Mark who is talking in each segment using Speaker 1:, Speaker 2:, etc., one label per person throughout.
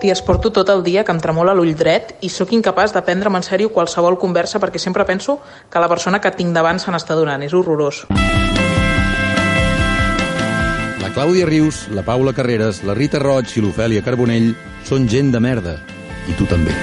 Speaker 1: T'hi esporto tot el dia que em tremola l'ull dret i sóc incapaç de prendre'm en sèrio qualsevol conversa perquè sempre penso que la persona que tinc davant se n'està donant. És horrorós.
Speaker 2: La Clàudia Rius, la Paula Carreras, la Rita Roig i l'Ofèlia Carbonell són gent de merda. I tu també.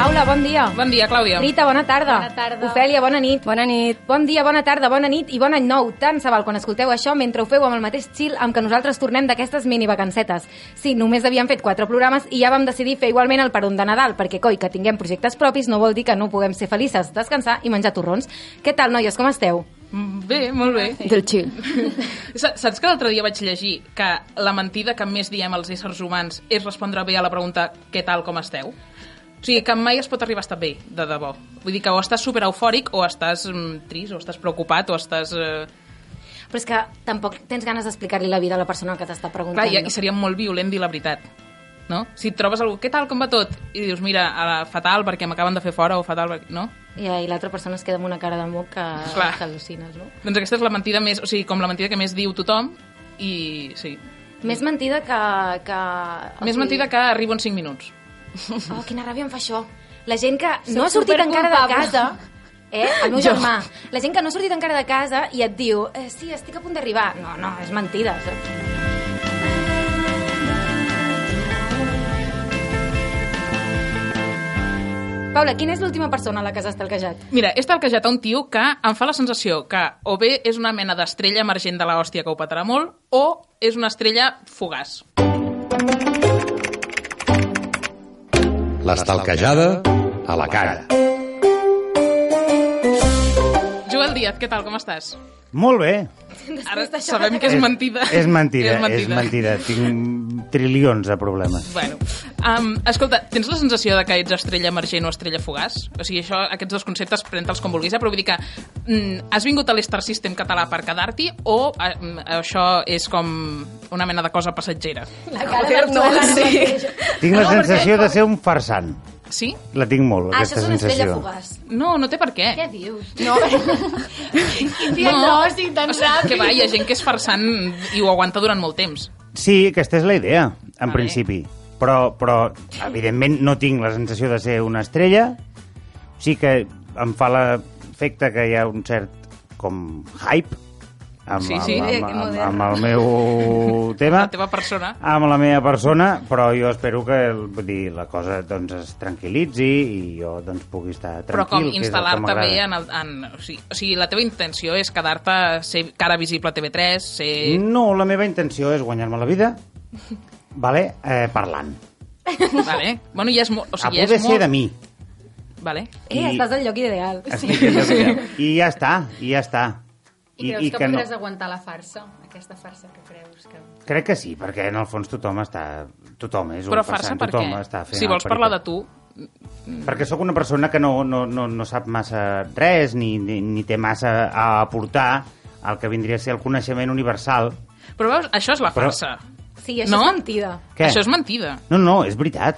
Speaker 3: Paula, bon dia.
Speaker 1: Bon dia, Clàudia.
Speaker 3: Rita, bona tarda.
Speaker 4: Bona tarda.
Speaker 3: Ofèlia, bona nit.
Speaker 4: Bona nit.
Speaker 3: Bon dia, bona tarda, bona nit i bon any nou. Tant se val quan escolteu això mentre ho feu amb el mateix chill amb què nosaltres tornem d'aquestes mini vacancetes. Sí, només havíem fet quatre programes i ja vam decidir fer igualment el peron de Nadal, perquè coi, que tinguem projectes propis no vol dir que no puguem ser felices, descansar i menjar torrons. Què tal, noies, com esteu?
Speaker 1: Bé, molt bé.
Speaker 5: Del chill.
Speaker 1: Sa- Saps que l'altre dia vaig llegir que la mentida que més diem als éssers humans és respondre bé a la pregunta què tal, com esteu? O sigui, que mai es pot arribar a estar bé, de debò. Vull dir que o estàs super eufòric, o estàs mm, trist, o estàs preocupat, o estàs... Eh...
Speaker 3: Però és que tampoc tens ganes d'explicar-li la vida a la persona que t'està preguntant.
Speaker 1: Clar, i, i seria molt violent dir la veritat. No? Si et trobes algú, què tal, com va tot? I dius, mira, a la, fatal perquè m'acaben de fer fora, o fatal perquè... No?
Speaker 3: Ja, I l'altra persona es queda amb una cara de moc que,
Speaker 1: Clar.
Speaker 3: que al·lucines, no?
Speaker 1: Doncs aquesta és la mentida més... O sigui, com la mentida que més diu tothom, i sí.
Speaker 3: Més mentida que... que
Speaker 6: Ah,
Speaker 3: o
Speaker 1: Més
Speaker 3: sigui-
Speaker 1: mentida que arribo en 5 minuts.
Speaker 3: Oh, quina ràbia em fa això. La gent que no
Speaker 4: Soc
Speaker 3: ha sortit encara de
Speaker 4: superculpable.
Speaker 3: casa... Eh? El meu germà. La gent que no ha sortit encara de casa i et diu eh, sí, estic a punt d'arribar. No, no, és mentida. Paula, quina és l'última persona a la que has estalquejat?
Speaker 1: Mira, he stalkejat a un tio que em fa la sensació que o bé és una mena d'estrella emergent de l'hòstia que ho petarà molt, o és una estrella fugaç.
Speaker 2: L'estalquejada a la cara.
Speaker 1: Joel Díaz, què tal, com estàs?
Speaker 6: Molt bé.
Speaker 1: Ara sabem que és mentida.
Speaker 6: És mentida, és mentida. És mentida. Tinc trilions de problemes.
Speaker 1: Bueno, um, escolta, tens la sensació de que ets estrella emergent o estrella fugaç? O sigui, això, aquests dos conceptes, pren-te'ls com vulguis, eh? però vull dir que mm, has vingut a l'Star System català per quedar-t'hi o eh, mm, això és com una mena de cosa passatgera?
Speaker 4: La cara del Joel ara mateix.
Speaker 6: Tinc la sensació de ser un farsant.
Speaker 1: Sí?
Speaker 6: La tinc molt,
Speaker 3: Ah, això
Speaker 6: aquesta
Speaker 3: és una estrella
Speaker 6: sensació.
Speaker 3: fugaç.
Speaker 1: No, no té per què.
Speaker 3: Què dius?
Speaker 4: No, quin dia no. d'oci tan
Speaker 1: O sigui,
Speaker 4: ràpid.
Speaker 1: que va, hi ha gent que és farsant i ho aguanta durant molt temps.
Speaker 6: Sí, aquesta és la idea, en
Speaker 1: Vale.
Speaker 6: principi. Però, però, evidentment, no tinc la sensació de ser una estrella. Sí que em fa l'efecte que hi ha un cert com hype amb,
Speaker 1: Sí, sí.
Speaker 6: amb,
Speaker 4: Que
Speaker 6: amb, amb,
Speaker 4: modern.
Speaker 6: amb el meu tema.
Speaker 1: La teva persona.
Speaker 6: amb la meva persona, però jo espero que el- vull dir, la cosa doncs, es tranquil·litzi i jo doncs, pugui estar
Speaker 1: Però com
Speaker 6: tranquil. que és el que
Speaker 1: instal·lar-te bé
Speaker 6: m'agrada.
Speaker 1: en... El, en o, sigui, o sigui, la teva intenció és quedar-te ser cara visible a TV3, ser...
Speaker 6: No, la meva intenció és guanyar-me la vida vale, eh, parlant.
Speaker 1: Vale. eh? Bueno, ja és molt... O
Speaker 6: O sigui,
Speaker 1: sigui,
Speaker 6: a
Speaker 1: ja
Speaker 6: poder
Speaker 1: és
Speaker 6: ser
Speaker 1: molt...
Speaker 6: de mi.
Speaker 1: Vale.
Speaker 3: Eh,
Speaker 6: I-
Speaker 3: estàs al lloc ideal.
Speaker 6: Estic allò que ja- I ja està, i ja està.
Speaker 4: I, creus que, podràs aguantar la farsa? Aquesta farsa que creus que...
Speaker 6: Crec que sí, perquè en el fons tothom està... Tothom és
Speaker 1: Però
Speaker 6: un
Speaker 1: farsa
Speaker 6: farsant,
Speaker 1: per
Speaker 6: tothom
Speaker 1: què?
Speaker 6: està fent
Speaker 1: Si
Speaker 6: el
Speaker 1: vols parlar de
Speaker 6: perico.
Speaker 1: tu,
Speaker 6: Perquè sóc una persona que no, no, no, no sap massa res, ni, ni, ni té massa a aportar al que vindria a ser el coneixement universal.
Speaker 1: però veus, això és la
Speaker 6: Però-
Speaker 1: farsa.
Speaker 3: Sí, això
Speaker 1: No?
Speaker 3: és mentida.
Speaker 6: Què?
Speaker 1: Això és mentida.
Speaker 6: No, no, és veritat.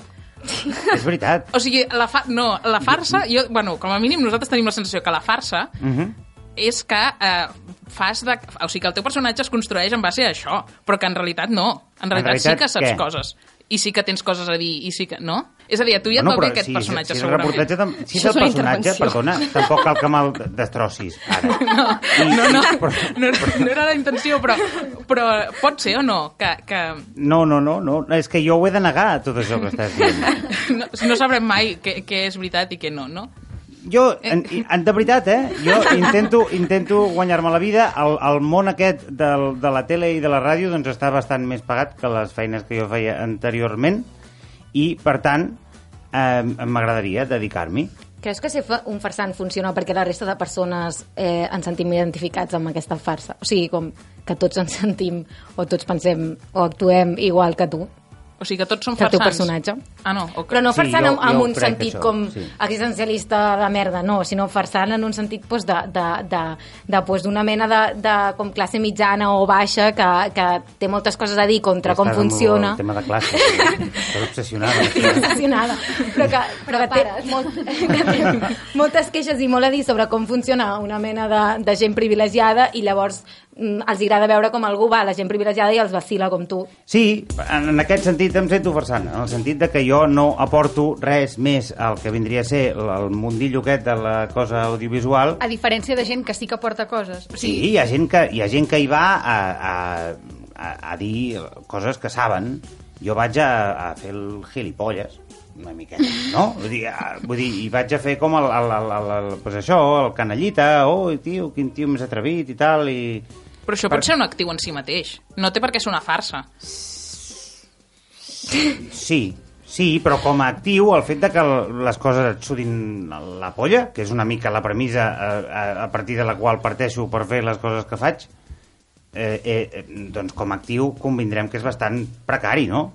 Speaker 6: és veritat.
Speaker 1: O sigui, la fa... no, la farsa... Jo, bueno, com a mínim nosaltres tenim la sensació que la farsa
Speaker 6: Uh -huh.
Speaker 1: és que eh, fas de... O sigui, que el teu personatge es construeix en base a això, però que en realitat no. En realitat, sí
Speaker 6: realitat,
Speaker 1: que saps
Speaker 6: què?
Speaker 1: coses. I sí que tens coses a dir, i sí que... No? És a dir, a tu ja et
Speaker 6: Bueno,
Speaker 1: toca
Speaker 6: però
Speaker 1: aquest
Speaker 6: si-
Speaker 1: personatge,
Speaker 6: si, si el
Speaker 1: segurament.
Speaker 6: reportatge tam- Si és el
Speaker 5: Això és una
Speaker 6: personatge,
Speaker 5: intervenció.
Speaker 6: perdona, tampoc cal que me'l destrossis, ara.
Speaker 1: No,
Speaker 6: I-
Speaker 1: no, no,
Speaker 6: però-
Speaker 1: no, era- no era la intenció, però, però pot ser o no? Que, que
Speaker 6: No, no, no, no, és que jo ho he de negar, tot això que estàs dient.
Speaker 1: no, no sabrem mai què, què és veritat i què no, no?
Speaker 3: Eh,
Speaker 6: Jo, en, en, de veritat, eh? Jo intento, intento guanyar-me la vida. El, el món aquest del, de la tele i de la ràdio doncs està bastant més pagat que les feines que jo feia anteriorment i, per tant, eh, m'agradaria dedicar-m'hi.
Speaker 3: Creus que ser fa- un farsant funciona perquè la resta de persones eh, ens sentim identificats amb aquesta farsa? O sigui, com que tots ens sentim o tots pensem o actuem igual que tu?
Speaker 1: O sigui que tots són
Speaker 3: Del teu
Speaker 1: farsants.
Speaker 3: personatge.
Speaker 1: Ah, no, ok.
Speaker 3: Però no
Speaker 6: Sí,
Speaker 3: farsant
Speaker 6: jo-
Speaker 3: en, en
Speaker 6: jo
Speaker 3: un
Speaker 6: crec que
Speaker 3: sentit
Speaker 6: això,
Speaker 3: com
Speaker 6: sí.
Speaker 3: existencialista de merda, no, sinó farsant en un sentit pues, de, de, de, de, pues, d'una mena de, de com classe mitjana o baixa que, que té moltes coses a dir contra com
Speaker 6: Estàs amb
Speaker 3: funciona.
Speaker 6: El tema de eh? classe. Estàs obsessionada.
Speaker 3: Estic obsessionada. Però que, però que té,
Speaker 4: Prepara't.
Speaker 3: molt, que té moltes queixes i molt a dir sobre com funciona una mena de, de gent privilegiada i llavors mm, els agrada veure com algú va a la gent privilegiada i els vacila com tu.
Speaker 6: Sí, en, en aquest sentit em sento versant, en el sentit de que jo no aporto res més al que vindria a ser l- el mundillo aquest de la cosa audiovisual.
Speaker 4: A diferència de gent que sí que porta coses. O
Speaker 6: Sí,
Speaker 4: sigui,
Speaker 6: hi ha gent que, hi, ha gent que hi va a, a, a, a dir coses que saben. Jo vaig a, a fer el gilipolles, una miqueta, no? Vull dir, a, vull dir i vaig a fer com el, el, el, el, el, pues això, el canallita, oh, tio, quin tio més atrevit i tal, i...
Speaker 1: Però això pot ser un actiu en si mateix. No té per què ser una farsa.
Speaker 6: Sí, sí, però com a actiu el fet de que l- les coses et sudin la polla, que és una mica la premissa eh, a, a partir de la qual parteixo per fer les coses que faig, eh, eh, eh, doncs com a actiu convindrem que és bastant precari, no?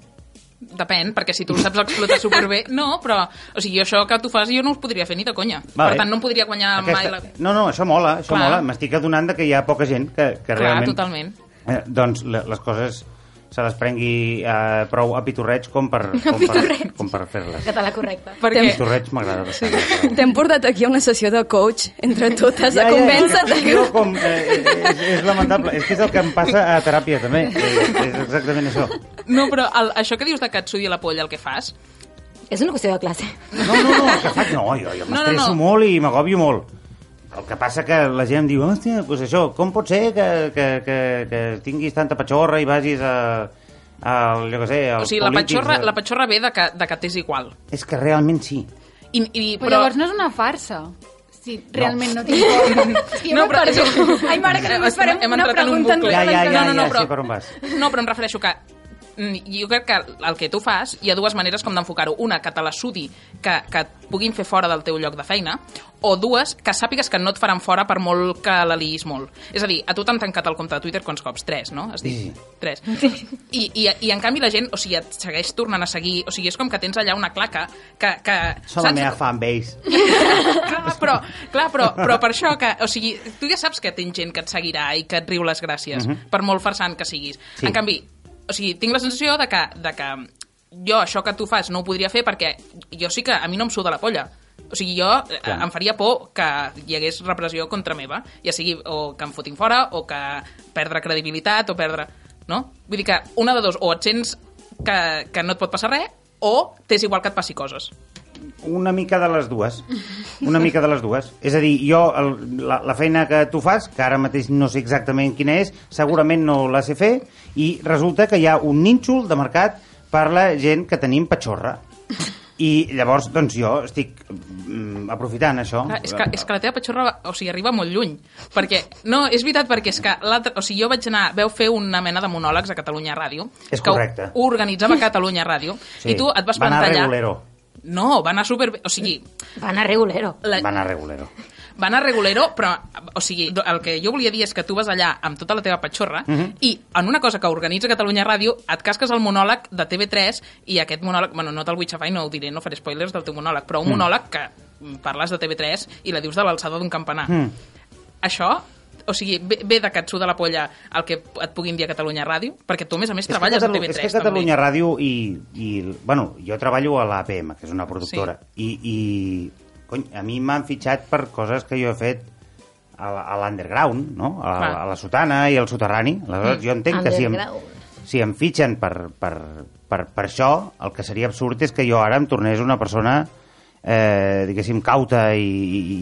Speaker 1: Depèn, perquè si tu ho saps explotar superbé... No, però... O sigui, jo això que tu fas jo no us podria fer ni de conya.
Speaker 6: Vale.
Speaker 1: Per tant, no em podria guanyar mai la...
Speaker 6: No, no, això mola, això
Speaker 1: Clar.
Speaker 6: mola. M'estic adonant de que hi ha poca gent que, que
Speaker 1: Clar,
Speaker 6: realment...
Speaker 1: totalment.
Speaker 6: Eh, doncs le- les coses se les prengui eh, prou a pitorreig com per, com per,
Speaker 3: pitorreig.
Speaker 6: com per fer-les.
Speaker 3: Català correcte.
Speaker 1: Perquè...
Speaker 6: Pitorreig m'agrada bastant. Sí.
Speaker 5: T'hem portat aquí a una sessió de coach entre totes
Speaker 6: Ja,
Speaker 5: a
Speaker 6: ja,
Speaker 5: convèncer-te
Speaker 6: ja,
Speaker 5: que...
Speaker 6: jo com, eh, és, és lamentable. És que és el que em passa a teràpia, també. Eh, és exactament això.
Speaker 1: No, però el, això que dius de que et sudi la polla el que fas,
Speaker 3: És una qüestió de classe.
Speaker 6: No, no, no, el que faig no, jo, jo m'estresso
Speaker 1: no.
Speaker 6: molt i m'agòbio molt. El que passa que la gent diu, hòstia, doncs això, com pot ser que, que, que, que tinguis tanta patxorra i vagis a, a jo què sé,
Speaker 1: o
Speaker 6: als
Speaker 1: sigui, la
Speaker 6: polítics
Speaker 1: patxorra,
Speaker 6: de-"
Speaker 1: la patxorra ve de que, de que t'és igual.
Speaker 6: És que realment sí.
Speaker 1: I, i,
Speaker 4: però... llavors no és una farsa. Si realment no, tinc por.
Speaker 3: Jo no, però... Ai, mare, que només farem
Speaker 1: Hem
Speaker 3: una
Speaker 1: entrat en un
Speaker 3: pregunta en
Speaker 1: bucle.
Speaker 6: Ja, ja, ja,
Speaker 1: no, no, no,
Speaker 6: ja
Speaker 1: però,
Speaker 6: sé per on vas.
Speaker 1: No, però em refereixo que mm, jo crec que el que tu fas hi ha dues maneres com d'enfocar-ho. Una, que te la sudi, que, que et puguin fer fora del teu lloc de feina, o dues, que sàpigues que no et faran fora per molt que la liïs molt. És a dir, a tu t'han tancat el compte de Twitter quants cops? Tres, no? Has dit?
Speaker 6: Sí.
Speaker 1: Tres. I, i, I en canvi la gent, o sigui, et segueix tornant a seguir, o sigui, és com que tens allà una claca que... que
Speaker 6: Són la meva fanbase.
Speaker 1: clar, però, clar, però, però per això que... O sigui, tu ja saps que tens gent que et seguirà i que et riu les gràcies, per molt farsant que siguis.
Speaker 6: Mhm. Sí.
Speaker 1: En canvi, o sigui, tinc la sensació de que, de que jo això que tu fas no ho podria fer perquè jo sí que a mi no em suda la polla. O sigui, jo eh,
Speaker 6: Clar.
Speaker 1: em faria por que hi hagués repressió contra meva, ja sigui o que em fotin fora o que perdre credibilitat o perdre... No? Vull dir que una de dos, o et sents que, que no et pot passar res o t'és igual que et passi coses.
Speaker 6: Una mica de les dues. Una mica de les dues. És a dir, jo, el, la, la feina que tu fas, que ara mateix no sé exactament quina és, segurament no la sé fer, i resulta que hi ha un nínxol de mercat per la gent que tenim patxorra. I llavors, doncs jo estic mm, aprofitant això.
Speaker 1: Clar, és, que, és que la teva patxorra va- o sigui, arriba molt lluny. Perquè, no, és veritat, perquè és que l'altre... O sigui, jo vaig anar... Veu fer una mena de monòlegs a Catalunya Ràdio.
Speaker 6: És
Speaker 1: que ho-
Speaker 6: correcte.
Speaker 1: Ho organitzava Catalunya Ràdio.
Speaker 6: Sí,
Speaker 1: I tu et vas
Speaker 6: va anar
Speaker 1: plantallar...
Speaker 6: regulero.
Speaker 1: No, va anar super... O sigui,
Speaker 3: Va anar regulero.
Speaker 1: la,
Speaker 6: Va anar regulero.
Speaker 1: va anar regulero, però, o sigui, do- el que jo volia dir és que tu vas allà amb tota la teva patxorra
Speaker 6: Mhm.
Speaker 1: i en una cosa que organitza Catalunya Ràdio et casques el monòleg de TV3 i aquest monòleg, bueno, no te'l vull xafar i no ho diré, no faré spoilers del teu monòleg, però
Speaker 6: Mhm.
Speaker 1: un monòleg que mm, parles de TV3 i la dius de l'alçada d'un campanar.
Speaker 6: Mm.
Speaker 1: Això, o sigui, ve, ve de que et suda la polla el que et puguin dir a Catalunya Ràdio, perquè tu, a més a més,
Speaker 6: És que
Speaker 1: treballes a
Speaker 6: Catalu-
Speaker 1: TV3.
Speaker 6: És que Catalunya Ràdio i, i... Bueno, jo treballo a l'APM, que és una productora, sí. i, i cony, a mi m'han fitxat per coses que jo he fet a, la- a l'underground, no? A,
Speaker 1: Clar. Mm.
Speaker 6: a la sotana i al soterrani. Aleshores, jo entenc que si em,
Speaker 3: Underground.
Speaker 6: si em fitxen per, per, per, per això, el que seria absurd és que jo ara em tornés una persona eh, diguéssim, cauta i, i,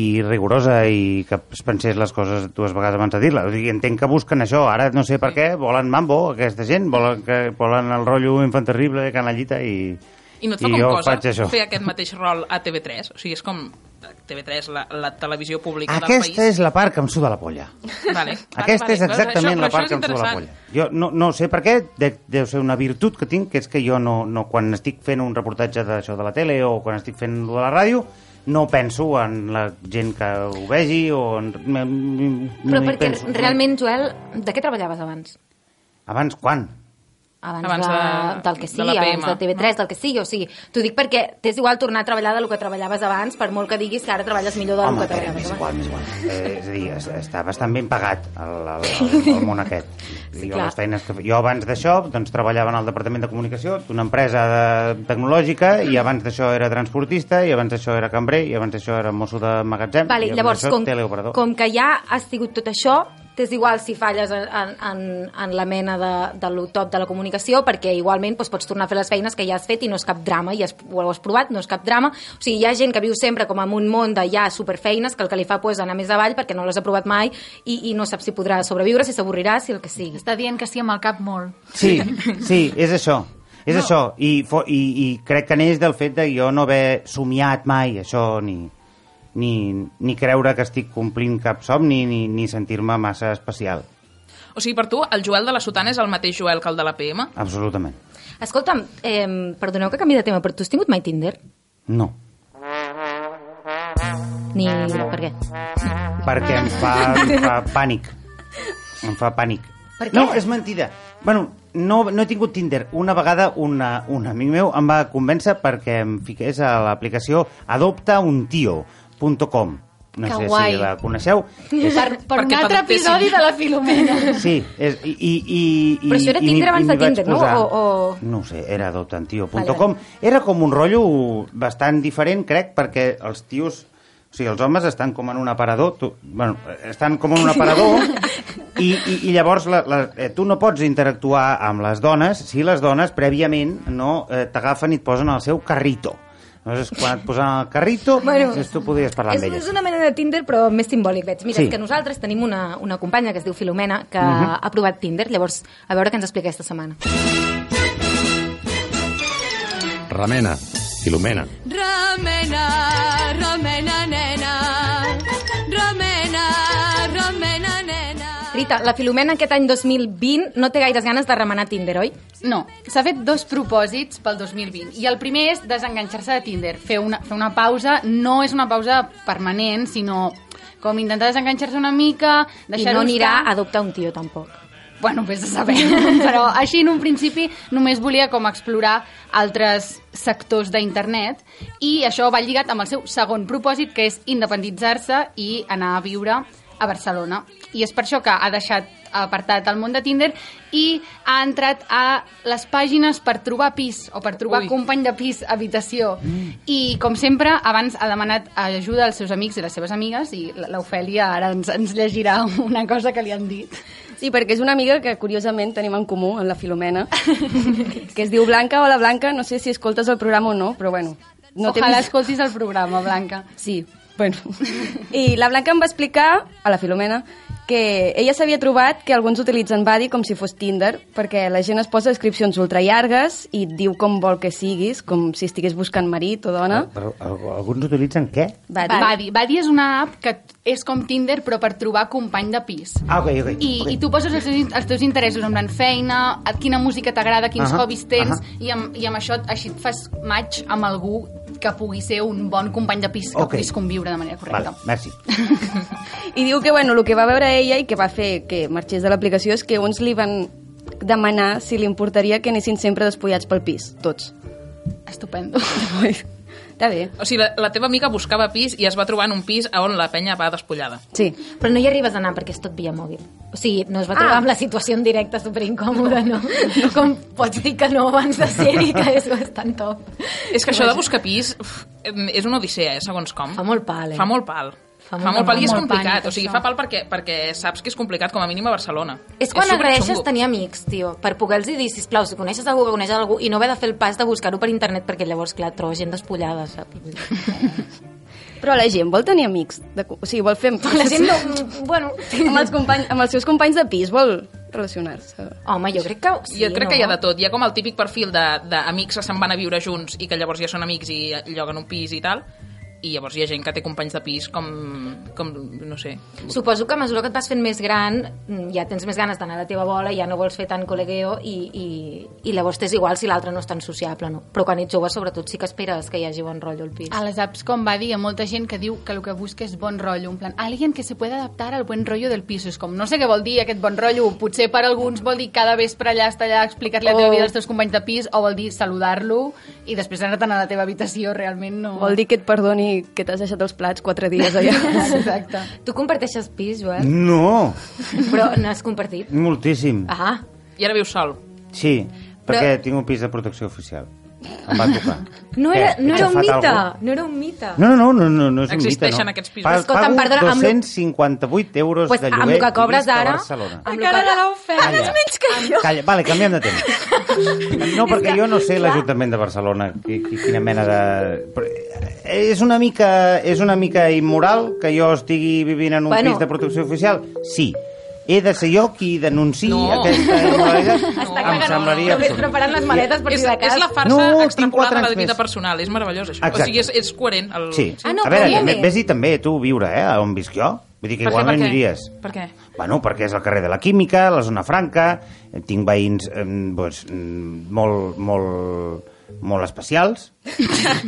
Speaker 6: i rigorosa i que es pensés les coses dues vegades abans de dir-les. O sigui, entenc que busquen això. Ara no sé per què, volen mambo, aquesta gent, volen, que, volen el rotllo infanterrible, canallita i...
Speaker 1: I no et fa com
Speaker 6: jo
Speaker 1: cosa
Speaker 6: faig això.
Speaker 1: eh, fer aquest mateix rol a TV3. O sigui, és com eh, TV3, la, la televisió pública del
Speaker 6: Aquesta
Speaker 1: país.
Speaker 6: és la part que em suda la polla.
Speaker 1: Vale. Vale,
Speaker 6: Aquesta
Speaker 1: vale.
Speaker 6: és exactament
Speaker 1: Però
Speaker 6: la
Speaker 1: això-
Speaker 6: part
Speaker 1: però això és
Speaker 6: que em surt la
Speaker 1: interessant.
Speaker 6: polla. Jo no, no sé per què, de, deu ser una virtut que tinc, que és que jo no, no quan estic fent un reportatge d'això de la tele o quan estic fent lo de la ràdio, no penso en la gent que ho vegi o... En, m- m-
Speaker 3: Però
Speaker 6: no hi
Speaker 3: perquè
Speaker 6: penso.
Speaker 3: realment, Joel, de què treballaves abans?
Speaker 6: Abans, quan?
Speaker 3: abans,
Speaker 1: Abans
Speaker 3: abans de,
Speaker 1: de-
Speaker 3: del que
Speaker 1: de
Speaker 3: sigui, de
Speaker 1: l'APM.
Speaker 3: abans de TV3, del que sigui, o sigui, t'ho dic perquè t'és igual tornar a treballar del que treballaves abans, per molt que diguis que ara treballes millor del que
Speaker 6: Home, però
Speaker 3: treballaves
Speaker 6: m'és
Speaker 3: abans.
Speaker 6: igual, m'és igual. Eh, és a dir, es- està bastant ben pagat el, el, el, el món aquest.
Speaker 3: Sí,
Speaker 6: jo,
Speaker 3: clar.
Speaker 6: les feines que... fe- jo abans d'això doncs, treballava en el Departament de Comunicació d'una empresa de... tecnològica i abans d'això era transportista i abans d'això era cambrer i abans d'això era mosso de magatzem
Speaker 3: Vale,
Speaker 6: i abans
Speaker 3: llavors,
Speaker 6: d'això
Speaker 3: com,
Speaker 6: teleoperador.
Speaker 3: com que ja has sigut tot això, t'és igual si falles en, en, en, en la mena de, de lo top de la comunicació, perquè igualment doncs, pots tornar a fer les feines que ja has fet i no és cap drama, i has, ho has provat, no és cap drama. O sigui, hi ha gent que viu sempre com en un món de ja superfeines, que el que li fa pues, anar més avall perquè no les ha provat mai i, i no sap si podrà sobreviure, si s'avorrirà, si el que sigui.
Speaker 4: Està dient que sí amb el cap molt.
Speaker 6: Sí, sí, és això. És no. això. I, fo, i, I crec que neix del fet de jo no haver somiat mai això, ni, ni, ni creure que estic complint cap somni, ni, ni sentir-me massa especial.
Speaker 1: O sigui, per tu, el Joel de la Sotana és el mateix Joel que el de la PM?
Speaker 6: Absolutament.
Speaker 3: Escolta'm, eh, perdoneu que canvi de tema, però tu has tingut mai Tinder?
Speaker 6: No.
Speaker 3: Ni per què?
Speaker 6: Perquè em fa, em fa pànic. Em fa pànic.
Speaker 3: Per què?
Speaker 6: No, és mentida. Bueno, no, no he tingut Tinder. Una vegada una, un amic meu em va convèncer perquè em fiqués a l'aplicació adoptauntio.com. No
Speaker 4: Que
Speaker 6: sé
Speaker 4: guai.
Speaker 6: si la coneixeu. És
Speaker 4: Per, per un
Speaker 1: Perquè
Speaker 4: altre
Speaker 1: t'adaptessin.
Speaker 4: episodi de la Filomena.
Speaker 6: Sí, és, i, i, i,
Speaker 3: Però això era
Speaker 6: i- i
Speaker 3: Tinder
Speaker 6: m'hi-
Speaker 3: abans
Speaker 6: i m'hi
Speaker 3: de
Speaker 6: vaig
Speaker 3: Tinder, no?
Speaker 6: posar.
Speaker 3: O- o-
Speaker 6: No ho sé, era adoptantio.com.
Speaker 3: Vale,
Speaker 6: Vale, vale. Era com un rotllo bastant diferent, crec, perquè els tios... O sigui, els homes estan com en un aparador, tu, bueno, estan com en un aparador i, i, i llavors la, la, eh, tu no pots interactuar amb les dones si les dones prèviament no eh, t'agafen i et posen al seu carrito. Aleshores, quan et posen al carrito, bueno,
Speaker 3: Bueno,
Speaker 6: tu podies parlar
Speaker 3: És,
Speaker 6: amb elles.
Speaker 3: és una mena de Tinder, però més simbòlic, veig. Mira,
Speaker 6: Sí.
Speaker 3: sí. que nosaltres tenim una, una companya que es diu Filomena, que ha provat Tinder, llavors, a veure què ens explica aquesta setmana.
Speaker 2: Remena, Filomena.
Speaker 5: Remena, remena, nena. Remena, remena, nena.
Speaker 3: Rita, la Filomena aquest any 2020 no té gaires ganes de remenar Tinder, oi?
Speaker 4: No, s'ha fet dos propòsits pel 2020. I el primer és desenganxar-se de Tinder, fer una, fer una pausa, no és una pausa permanent, sinó com intentar desenganxar-se una mica,
Speaker 3: I
Speaker 4: deixar-ho
Speaker 3: no anirà a
Speaker 4: estar.
Speaker 3: adoptar un tio, tampoc.
Speaker 4: Bueno, vés a saber. Però així, en un principi, només volia com explorar altres sectors d'internet i això va lligat amb el seu segon propòsit, que és independitzar-se i anar a viure a Barcelona. I és per això que ha deixat apartat el món de Tinder i ha entrat a les pàgines per trobar pis o per trobar
Speaker 1: Ui.
Speaker 4: Ui company de pis, habitació. I, com sempre, abans ha demanat ajuda als seus amics i les seves amigues i l- l'Ofèlia ara ens, ens llegirà una cosa que li han dit.
Speaker 5: Sí, perquè és una amiga que curiosament tenim en comú, en la Filomena, que es diu Blanca. Hola, Blanca, no sé si escoltes el programa o no, però bueno. No
Speaker 4: No
Speaker 5: t'he
Speaker 4: Ojalà
Speaker 5: vist.
Speaker 4: escoltis el programa, Blanca.
Speaker 5: Sí, bueno. I la Blanca em va explicar, a la Filomena, que ella s'havia trobat que alguns utilitzen Badi com si fos Tinder, perquè la gent es posa descripcions ultrallargues i et diu com vol que siguis, com si estigués buscant marit o dona.
Speaker 6: Eh, Però, al- alguns utilitzen què?
Speaker 5: Badi.
Speaker 4: Badi. Badi és una app que t- és com Tinder, però per trobar company de pis.
Speaker 6: Ah, ok, ok.
Speaker 4: I,
Speaker 6: ok.
Speaker 4: i tu poses els teus, els teus interessos, en plan feina, a quina música t'agrada, quins uh
Speaker 6: Ahà,
Speaker 4: -huh. hobbies tens, uh
Speaker 6: ahà.
Speaker 4: -huh. i, amb, i amb això així et fas match amb algú que pugui ser un bon company de pis, que
Speaker 6: Ok.
Speaker 4: okay. puguis conviure de manera correcta.
Speaker 6: Vale, merci.
Speaker 5: I diu que, bueno, el que va veure ella i que va fer que marxés de l'aplicació és que uns li van demanar si li importaria que anessin sempre despullats pel pis, tots.
Speaker 4: Estupendo.
Speaker 5: Està bé.
Speaker 1: O sigui, la, la teva amiga buscava pis i es va trobar en un pis on la penya va despullada.
Speaker 5: Sí.
Speaker 3: Però no hi arribes a anar perquè és tot via mòbil. O sigui, no es va trobar ah. amb la situació en directe superincòmoda, no? no. Com pots dir que no abans de ser-hi, que és bastant top.
Speaker 1: És que això de buscar pis uf, és una odissea, eh, segons com.
Speaker 3: Fa molt pal, eh?
Speaker 1: Fa molt pal. Fa molt, fa molt pal i és complicat. Pànic, o sigui, fa pal perquè, perquè saps que és complicat, com a mínim a Barcelona.
Speaker 3: És quan agraeixes
Speaker 1: superxungo.
Speaker 3: tenir amics, tio, per poder-los dir, sisplau, si coneixes algú que coneixes algú i no haver de fer el pas de buscar-ho per internet perquè llavors, clar, trobes gent despullada, saps?
Speaker 5: Però la gent vol tenir amics, de, co- o sigui, vol fer...
Speaker 3: La gent no... mm, Bueno...
Speaker 5: amb, els companys, amb els seus companys de pis vol relacionar-se.
Speaker 3: Home, jo crec que...
Speaker 1: Sí,
Speaker 3: Sí,
Speaker 1: jo crec
Speaker 3: no?
Speaker 1: que hi ha de tot. Hi ha com el típic perfil d'amics que se'n van a viure junts i que llavors ja són amics i lloguen un pis i tal. i llavors hi ha gent que té companys de pis com, com no sé,
Speaker 3: Suposo que a mesura que et vas fent més gran, mm, ja tens més ganes d'anar a la teva bola, ja no vols fer tant col·legueo i, i, i llavors t'és igual si l'altre no és tan sociable, no? Però quan ets jove, sobretot, sí que esperes que hi hagi bon rotllo al pis.
Speaker 4: A les apps, com va dir, hi ha molta gent que diu que el que busca és bon rotllo, en plan, alguien que se pueda adaptar al buen rotllo del piso. És com, no sé què vol dir aquest bon rotllo, potser per alguns vol dir cada vespre allà estar allà explicar-li la teva
Speaker 5: O-
Speaker 4: vida als teus companys de pis, o vol dir saludar-lo i després anar-te'n a la teva habitació, realment no...
Speaker 5: Vol dir que et perdoni que t'has deixat els plats quatre dies allà.
Speaker 4: Exacte.
Speaker 3: Tu comparteixes pis, Joel?
Speaker 6: No,
Speaker 3: Però n'has compartit?
Speaker 6: moltíssim.
Speaker 3: Ah,
Speaker 1: i ara vius sol.
Speaker 6: Sí, perquè tinc un pis de protecció oficial. Em va tocar.
Speaker 3: no era,
Speaker 6: Què?
Speaker 3: no
Speaker 6: He
Speaker 3: era un
Speaker 6: xafat
Speaker 3: mite,
Speaker 6: algú?
Speaker 3: no era un mite.
Speaker 6: No, no, no, no, no, no és un mite, no.
Speaker 1: Existeixen aquests pisos.
Speaker 3: Escolta'm,
Speaker 6: pago
Speaker 3: perdona, amb lo-
Speaker 6: 258 euros
Speaker 3: Pues,
Speaker 6: de
Speaker 3: amb
Speaker 6: lloguer
Speaker 3: lo que cobres
Speaker 6: i visc a
Speaker 3: ara-
Speaker 6: Barcelona.
Speaker 3: Amb la cara de l'oferta.
Speaker 6: Calla. Calla, vale, canviem de tema. No, perquè jo no sé l'Ajuntament de Barcelona, qui, qui, quina mena de... però, eh, És una mica, és una mica immoral que jo estigui vivint en un
Speaker 3: Bueno.
Speaker 6: bueno. pis de protecció oficial? Sí. He de ser jo qui denunciï
Speaker 1: No.
Speaker 6: aquesta immoralitat?
Speaker 1: Està
Speaker 6: em
Speaker 1: cagant,
Speaker 6: semblaria
Speaker 3: Però vés
Speaker 6: absurd.
Speaker 3: preparant les maletes per
Speaker 1: És,
Speaker 3: si de
Speaker 1: és
Speaker 3: cas.
Speaker 1: la farsa
Speaker 6: No,
Speaker 1: no,
Speaker 6: tinc quatre
Speaker 1: extrapolada a
Speaker 6: anys
Speaker 1: la vida
Speaker 6: més.
Speaker 1: personal, és meravellós això.
Speaker 6: Exacte.
Speaker 1: O sigui, és, és coherent. El...
Speaker 6: Sí.
Speaker 3: Ah, no,
Speaker 6: a veure,
Speaker 3: però molt
Speaker 6: ve-
Speaker 3: bé.
Speaker 6: vés-hi també tu a viure, eh, on visc jo. Vull dir que
Speaker 1: Per què,
Speaker 6: igual
Speaker 1: per què?
Speaker 6: n'aniries.
Speaker 1: Per què?
Speaker 6: Bueno, perquè és el carrer de la Química, la zona franca, eh, tinc veïns eh, doncs, mm, molt, molt, molt especials.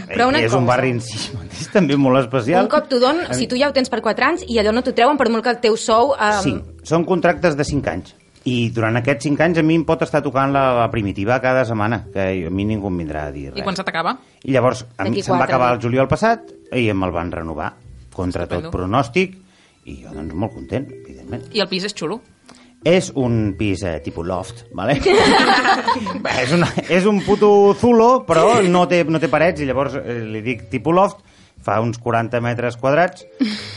Speaker 3: Però una
Speaker 6: Eh, és
Speaker 3: cosa.
Speaker 6: un barri en si mateix també molt especial.
Speaker 3: Un cop t'ho don, si tu ja ho tens per 4 anys i allò no t'ho treuen per molt que el teu sou... Um,
Speaker 6: Sí, són contractes de 5 anys. I durant aquests 5 anys a mi em pot estar tocant la, la primitiva cada setmana, que a mi ningú em vindrà a dir res.
Speaker 1: I quan se t'acaba?
Speaker 6: I llavors a mi
Speaker 3: D'aquí
Speaker 6: se'm va
Speaker 3: quatre,
Speaker 6: acabar
Speaker 3: no?
Speaker 6: el juliol passat i em el van renovar contra
Speaker 1: Estupendo.
Speaker 6: tot pronòstic i jo doncs molt content, evidentment.
Speaker 1: I el pis és xulo.
Speaker 6: És un pis eh, tipus loft, vale? Bé, és, una, és un puto zulo, però no té, no té parets, i llavors eh, li dic tipus loft, fa uns 40 metres quadrats,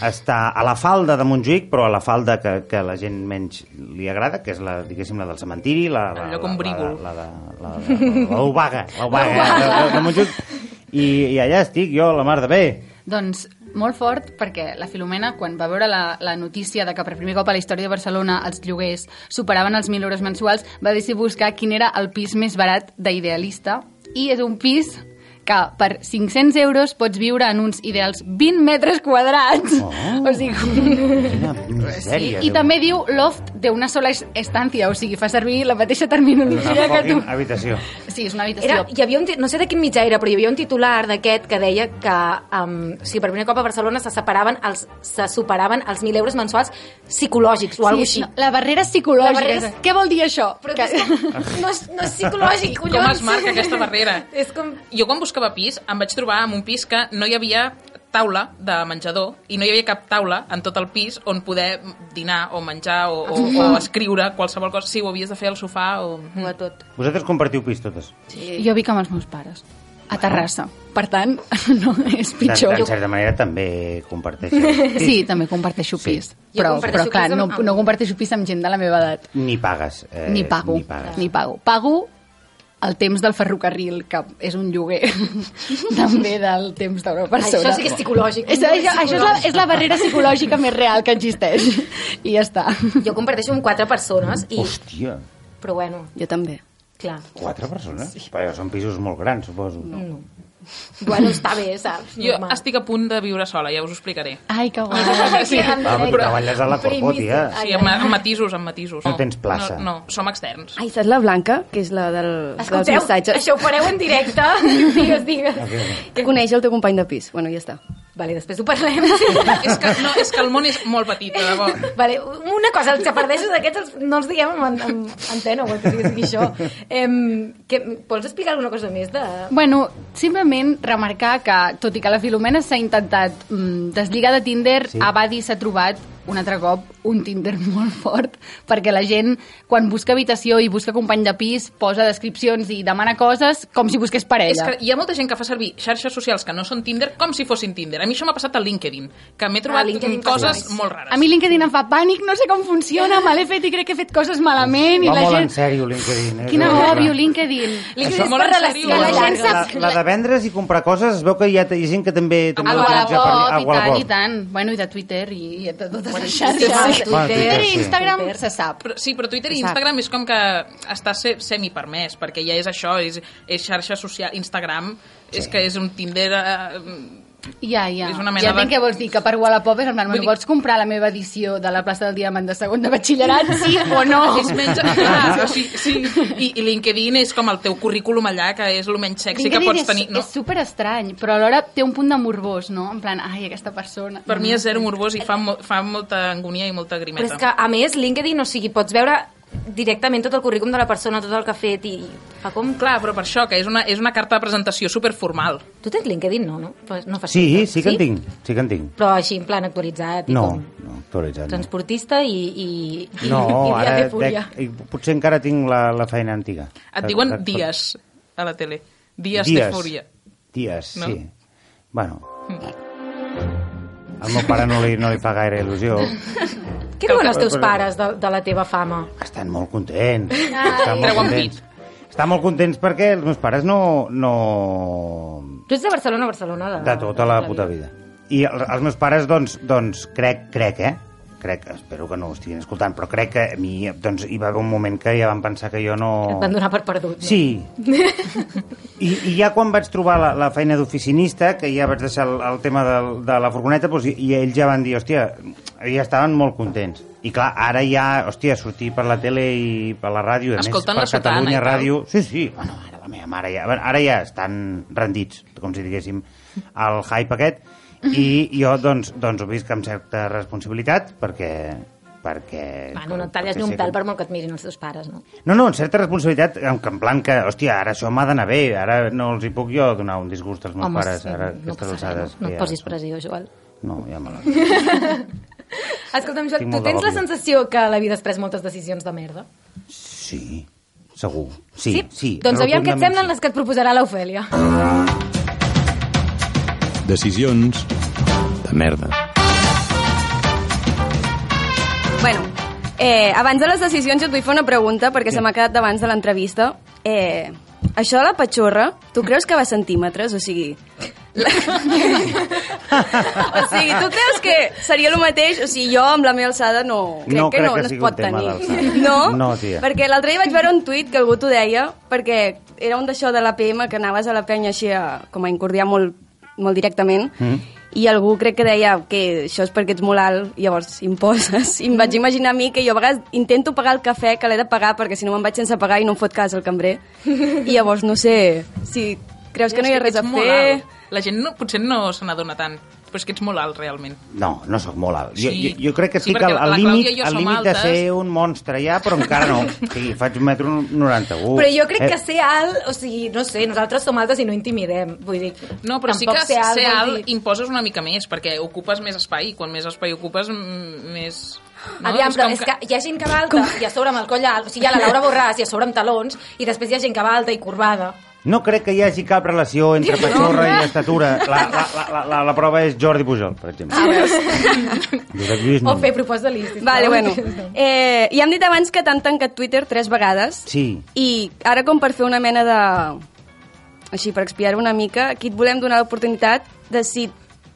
Speaker 6: està a la falda de Montjuïc, però a la falda que, que la gent menys li agrada, que és la, diguéssim, la del cementiri, la, la,
Speaker 1: El
Speaker 6: la,
Speaker 1: lloc on
Speaker 6: la, la,
Speaker 1: brívol.
Speaker 6: la, de- la, de- la, Ubaga, la Ubaga, de, de, de Montjuïc. I, I allà estic jo, la mar de bé.
Speaker 4: Doncs molt fort, perquè la Filomena, quan va veure la, la notícia de que per primer cop a la història de Barcelona els lloguers superaven els 1.000 euros mensuals, va decidir buscar quin era el pis més barat d'Idealista. I és un pis que per 500 euros pots viure en uns ideals 20 metres quadrats.
Speaker 6: Oh.
Speaker 4: O sigui,
Speaker 6: Quina misèria.
Speaker 4: I
Speaker 6: Déu
Speaker 4: també diu loft d'una sola es- estància, o sigui, fa servir la mateixa terminologia
Speaker 6: Una
Speaker 4: que tu.
Speaker 6: fucking habitació.
Speaker 4: Sí, és una habitació.
Speaker 3: Era, hi havia un, ti- no sé de quin mitjà era, però hi havia un titular d'aquest que deia que um, si per primer cop a Barcelona se separaven els, se superaven els 1.000 euros mensuals psicològics o alguna
Speaker 4: Sí,
Speaker 3: cosa
Speaker 4: no,
Speaker 3: així.
Speaker 4: la barrera psicològica.
Speaker 3: La barrera-
Speaker 4: Què vol dir això?
Speaker 3: Però que... és que no, és, no és psicològic, collons.
Speaker 1: Com es marca aquesta barrera?
Speaker 3: És com...
Speaker 1: Jo quan buscava pis em vaig trobar amb un pis que no hi havia taula de menjador i no hi havia cap taula en tot el pis on poder dinar o menjar o, o, o escriure qualsevol cosa. Si ho havies de fer al sofà o...
Speaker 3: Ho a tot.
Speaker 6: Vosaltres compartiu pis totes.
Speaker 4: Jo vic amb els meus pares, a Terrassa. Per tant, no, és
Speaker 6: En,
Speaker 4: pitjor.
Speaker 6: en certa manera també comparteixes.
Speaker 4: Sí, també comparteixo
Speaker 6: Sí.
Speaker 4: pis.
Speaker 3: Jo
Speaker 4: Però,
Speaker 3: comparteixo
Speaker 4: però clar,
Speaker 3: pis
Speaker 4: no,
Speaker 3: amb-
Speaker 4: no comparteixo pis amb gent de la meva edat.
Speaker 6: Ni pagues. Eh,
Speaker 4: Ni pago.
Speaker 6: Ni pagues.
Speaker 4: Ni pago. Pago el temps del ferrocarril, que és un lloguer també del temps d'una persona.
Speaker 3: Això sí que és psicològic.
Speaker 4: És, això, això és, la, és la barrera psicològica més real que existeix. I ja està.
Speaker 3: Jo comparteixo amb quatre persones, i...
Speaker 6: Hòstia,
Speaker 3: però bueno,
Speaker 5: Jo també.
Speaker 3: clar.
Speaker 6: quatre persones? Sí. Però són pisos molt grans, suposo. No.
Speaker 3: Bueno, està bé, saps?
Speaker 1: Jo
Speaker 3: Normal.
Speaker 1: estic a punt de viure sola, ja us ho explicaré.
Speaker 4: Ai, que guai.
Speaker 1: Sí,
Speaker 6: Ah, però treballes a la corpo, tia.
Speaker 1: sí amb, amb matisos, amb matisos.
Speaker 6: No tens plaça.
Speaker 1: No, no som externs.
Speaker 5: Ai, saps la Blanca, que és la del, dels
Speaker 3: Escolteu,
Speaker 5: missatges?
Speaker 3: això ho fareu en directe? digues, digues.
Speaker 5: Que coneix el teu company de pis. Bueno, ja està.
Speaker 3: Vale, després ho parlem.
Speaker 1: és, que, no, és que el món és molt petit, de debò.
Speaker 3: Vale, una cosa, els xapardejos aquests els, no els diem en, en antena o el que sigui això. Em, que, vols explicar alguna cosa més de...
Speaker 4: Bueno, simplement remarcar que, tot i que la Filomena s'ha intentat mm, deslligar de Tinder,
Speaker 6: Sí.
Speaker 4: sí. Abadi s'ha trobat un altre cop un Tinder molt fort, perquè la gent, quan busca habitació i busca company de pis, posa descripcions i demana coses com si busqués
Speaker 1: És
Speaker 4: parella.
Speaker 1: que hi ha molta gent que fa servir xarxes socials que no són Tinder com si fossin Tinder. A mi això m'ha passat a LinkedIn, que m'he trobat
Speaker 3: LinkedIn fa
Speaker 1: coses
Speaker 3: guais.
Speaker 1: molt rares.
Speaker 4: Ah, A mi LinkedIn em fa pànic, no sé com funciona, me l'he fet i crec que he fet coses malament. I
Speaker 6: Va
Speaker 4: la
Speaker 6: molt
Speaker 4: gent...
Speaker 6: en sèrio, LinkedIn. Eh? És
Speaker 4: Quina
Speaker 6: horrible.
Speaker 4: òbvio, LinkedIn.
Speaker 1: Això
Speaker 3: és
Speaker 1: molt
Speaker 3: per
Speaker 1: en
Speaker 3: relacions
Speaker 1: sèrio.
Speaker 4: La gent
Speaker 6: La,
Speaker 4: sap...
Speaker 6: la de vendre's i comprar coses, es veu que hi ha, hi ha gent que també... també
Speaker 4: Al
Speaker 6: ho utilitza per-
Speaker 4: Wallapop,
Speaker 6: al
Speaker 4: i tant,
Speaker 6: Wallapop.
Speaker 4: i tant. Bueno, i de Twitter i, i de totes les
Speaker 3: Sí,
Speaker 4: xarxes.
Speaker 3: sí.
Speaker 6: Bueno, Twitter,
Speaker 4: Twitter i
Speaker 6: sí.
Speaker 4: Instagram
Speaker 3: Twitter.
Speaker 4: se sap.
Speaker 1: Però, sí, però Twitter i
Speaker 5: Exacte.
Speaker 1: Instagram és com que està se, semipermès, perquè ja és això, és, és xarxa social, Instagram, sí. és que és un Tinder... Eh,
Speaker 4: Ja, ja.
Speaker 1: És una mena
Speaker 4: ja entenc
Speaker 1: de-
Speaker 4: què vols dir, que per Wallapop és en plan,
Speaker 1: Vull
Speaker 4: bueno,
Speaker 1: dir-
Speaker 4: vols comprar la meva edició de la plaça del Diamant de segon de batxillerat, sí o Oh, no?
Speaker 1: És menys... Ah, sí, sí. I, I LinkedIn és com el teu currículum allà, que és el menys sexy que
Speaker 4: LinkedIn
Speaker 1: pots
Speaker 4: és,
Speaker 1: tenir. No,
Speaker 4: és super estrany, però alhora té un punt de morbós, no? En plan, ai, aquesta persona...
Speaker 1: per mi és zero morbós i fa, mo fa molta angúnia i molta
Speaker 3: Però és
Speaker 1: grimeta.
Speaker 3: que, a més, LinkedIn, o sigui, pots veure directament tot el currículum de la persona, tot el que ha fet i fa com...
Speaker 1: Clar, però per això, que és una, és una carta de presentació superformal.
Speaker 3: Tu tens LinkedIn, no? No, Pues no fas
Speaker 6: Sí,
Speaker 3: filtres.
Speaker 6: sí que en tinc, sí que en tinc.
Speaker 3: Però així, en plan actualitzat i
Speaker 6: No,
Speaker 3: com
Speaker 6: no, actualitzat. no.
Speaker 3: transportista i, i, i, i
Speaker 6: No,
Speaker 3: dia
Speaker 6: ara
Speaker 3: de fúria.
Speaker 6: dec, i potser encara tinc la, la feina antiga.
Speaker 1: Et diuen
Speaker 6: Per- per-
Speaker 1: dies a la tele. Dies, de fúria.
Speaker 6: Dies,
Speaker 1: No?
Speaker 6: sí. Bueno, al meu pare no li, no li fa gaire il·lusió.
Speaker 3: Què diuen els teus
Speaker 6: Però-
Speaker 3: pares de, de la teva fama?
Speaker 6: Estan molt contents. Estan molt
Speaker 1: Treuen
Speaker 6: contents. Estan molt contents perquè els meus pares no... no
Speaker 3: Tu ets de Barcelona, Barcelona? De,
Speaker 6: de tota la puta vida. I el- els meus pares, doncs, doncs crec, crec, eh? crec, espero que no ho estiguin escoltant, però crec que a mi doncs, hi va haver un moment que ja van pensar que jo no...
Speaker 3: Et van donar per perdut. no?
Speaker 6: Sí. I, I ja quan vaig trobar la, la feina d'oficinista, que ja vaig deixar el, el tema de, de la furgoneta, doncs, i, i ells ja van dir, hòstia, ja estaven molt contents. I clar, ara ja, hòstia, sortir per la tele i per la ràdio, a
Speaker 1: Escoltant la
Speaker 6: més, per
Speaker 1: sotana i
Speaker 6: Catalunya
Speaker 1: tal.
Speaker 6: Ràdio... Sí, sí, bueno, ara la meva mare ja... Ara ja estan rendits, com si diguéssim, al hype aquest, i jo, doncs, doncs ho visc amb certa responsabilitat, perquè perquè...
Speaker 3: Bueno, no et talles
Speaker 6: perquè
Speaker 3: ni
Speaker 6: sé
Speaker 3: un
Speaker 6: que-
Speaker 3: pèl per molt que et mirin els teus pares, no?
Speaker 6: no, no, amb certa responsabilitat, en que en plan que, hòstia, ara això m'ha d'anar bé, ara no els hi puc jo donar un disgust als meus
Speaker 3: Home,
Speaker 6: pares,
Speaker 3: sí,
Speaker 6: ara
Speaker 3: no
Speaker 6: aquestes
Speaker 3: passa res,
Speaker 6: alçades.
Speaker 3: No, no
Speaker 6: que
Speaker 3: et
Speaker 6: ja
Speaker 3: posis
Speaker 6: són-
Speaker 3: pressió, Joel.
Speaker 6: No, ja me la...
Speaker 3: Escolta'm, Joel,
Speaker 6: Tinc
Speaker 3: tu
Speaker 6: molt de
Speaker 3: tens la
Speaker 6: gòbia.
Speaker 3: sensació que a la vida has pres moltes decisions de merda?
Speaker 6: Sí, segur. Sí, sí. sí
Speaker 3: Doncs aviam què et
Speaker 6: rotundament
Speaker 3: semblen
Speaker 6: sí.
Speaker 3: les que et proposarà l'Ofèlia.
Speaker 2: Decisions de merda.
Speaker 5: Bueno, eh, abans de les decisions jo et vull fer una pregunta perquè se m'ha quedat d'abans de l'entrevista. Eh, això de la petxorra, tu creus que va a centímetres? O sigui... la- o sigui, tu creus que seria el mateix? O sigui, jo amb la meva alçada no... Crec
Speaker 6: No
Speaker 5: que
Speaker 6: crec
Speaker 5: no,
Speaker 6: que
Speaker 5: no es
Speaker 6: sigui
Speaker 5: pot
Speaker 6: un tema
Speaker 5: tenir.
Speaker 6: d'alçada.
Speaker 5: No?
Speaker 6: No, tia.
Speaker 5: Perquè l'altre dia vaig veure un tuit que algú t'ho deia, perquè era un d'això de l'APM que anaves a la penya així a, com a incordiar molt, molt directament,
Speaker 6: Mm.
Speaker 5: i algú crec que deia que això és perquè ets molt alt, llavors imposes. I em vaig imaginar a mi que jo a vegades intento pagar el cafè que l'he de pagar perquè si no me'n vaig sense pagar i no em fot cas el cambrer. I llavors no sé si creus que no hi ha res
Speaker 1: ets
Speaker 5: a
Speaker 1: molt
Speaker 5: fer...
Speaker 1: alt. La gent no, potser no se n'adona tant, però és que ets molt alt, realment.
Speaker 6: No, no sóc molt alt. Jo,
Speaker 1: Sí.
Speaker 6: jo, jo crec que
Speaker 1: Sí,
Speaker 6: estic
Speaker 1: perquè
Speaker 6: al, al
Speaker 1: la Clàudia i
Speaker 6: límit
Speaker 1: jo
Speaker 6: al
Speaker 1: som
Speaker 6: límit de
Speaker 1: altes.
Speaker 6: ser un monstre ja, però encara no. Sí, faig un metro Eh, noranta u.
Speaker 3: Però jo crec que ser alt, o sigui, no sé, nosaltres som altes i no intimidem. Vull dir,
Speaker 1: No, però sí
Speaker 3: tampoc
Speaker 1: que ser alt, ser
Speaker 3: vol
Speaker 1: alt imposes una mica més, perquè ocupes més espai, i quan més espai ocupes, mm, més... No?
Speaker 3: Aviam, però
Speaker 1: com
Speaker 3: és que hi ha gent que va alta i a sobre amb el coll alt, o sigui, hi ha la Laura Borràs i a sobre amb talons, i després hi ha gent que va alta i corbada.
Speaker 6: No crec que hi hagi cap relació entre petxorra i estatura. La, la, la, la, la, la prova és Jordi Pujol, per exemple. Josep Lluís
Speaker 3: Ah, O
Speaker 6: no.
Speaker 3: fer propostes de listes.
Speaker 5: Vale, bueno. Eh, ja hem dit abans que t'han tancat Twitter tres vegades.
Speaker 6: Sí.
Speaker 5: I ara com per fer una mena de... Així, per expiar una mica, aquí et volem donar l'oportunitat de si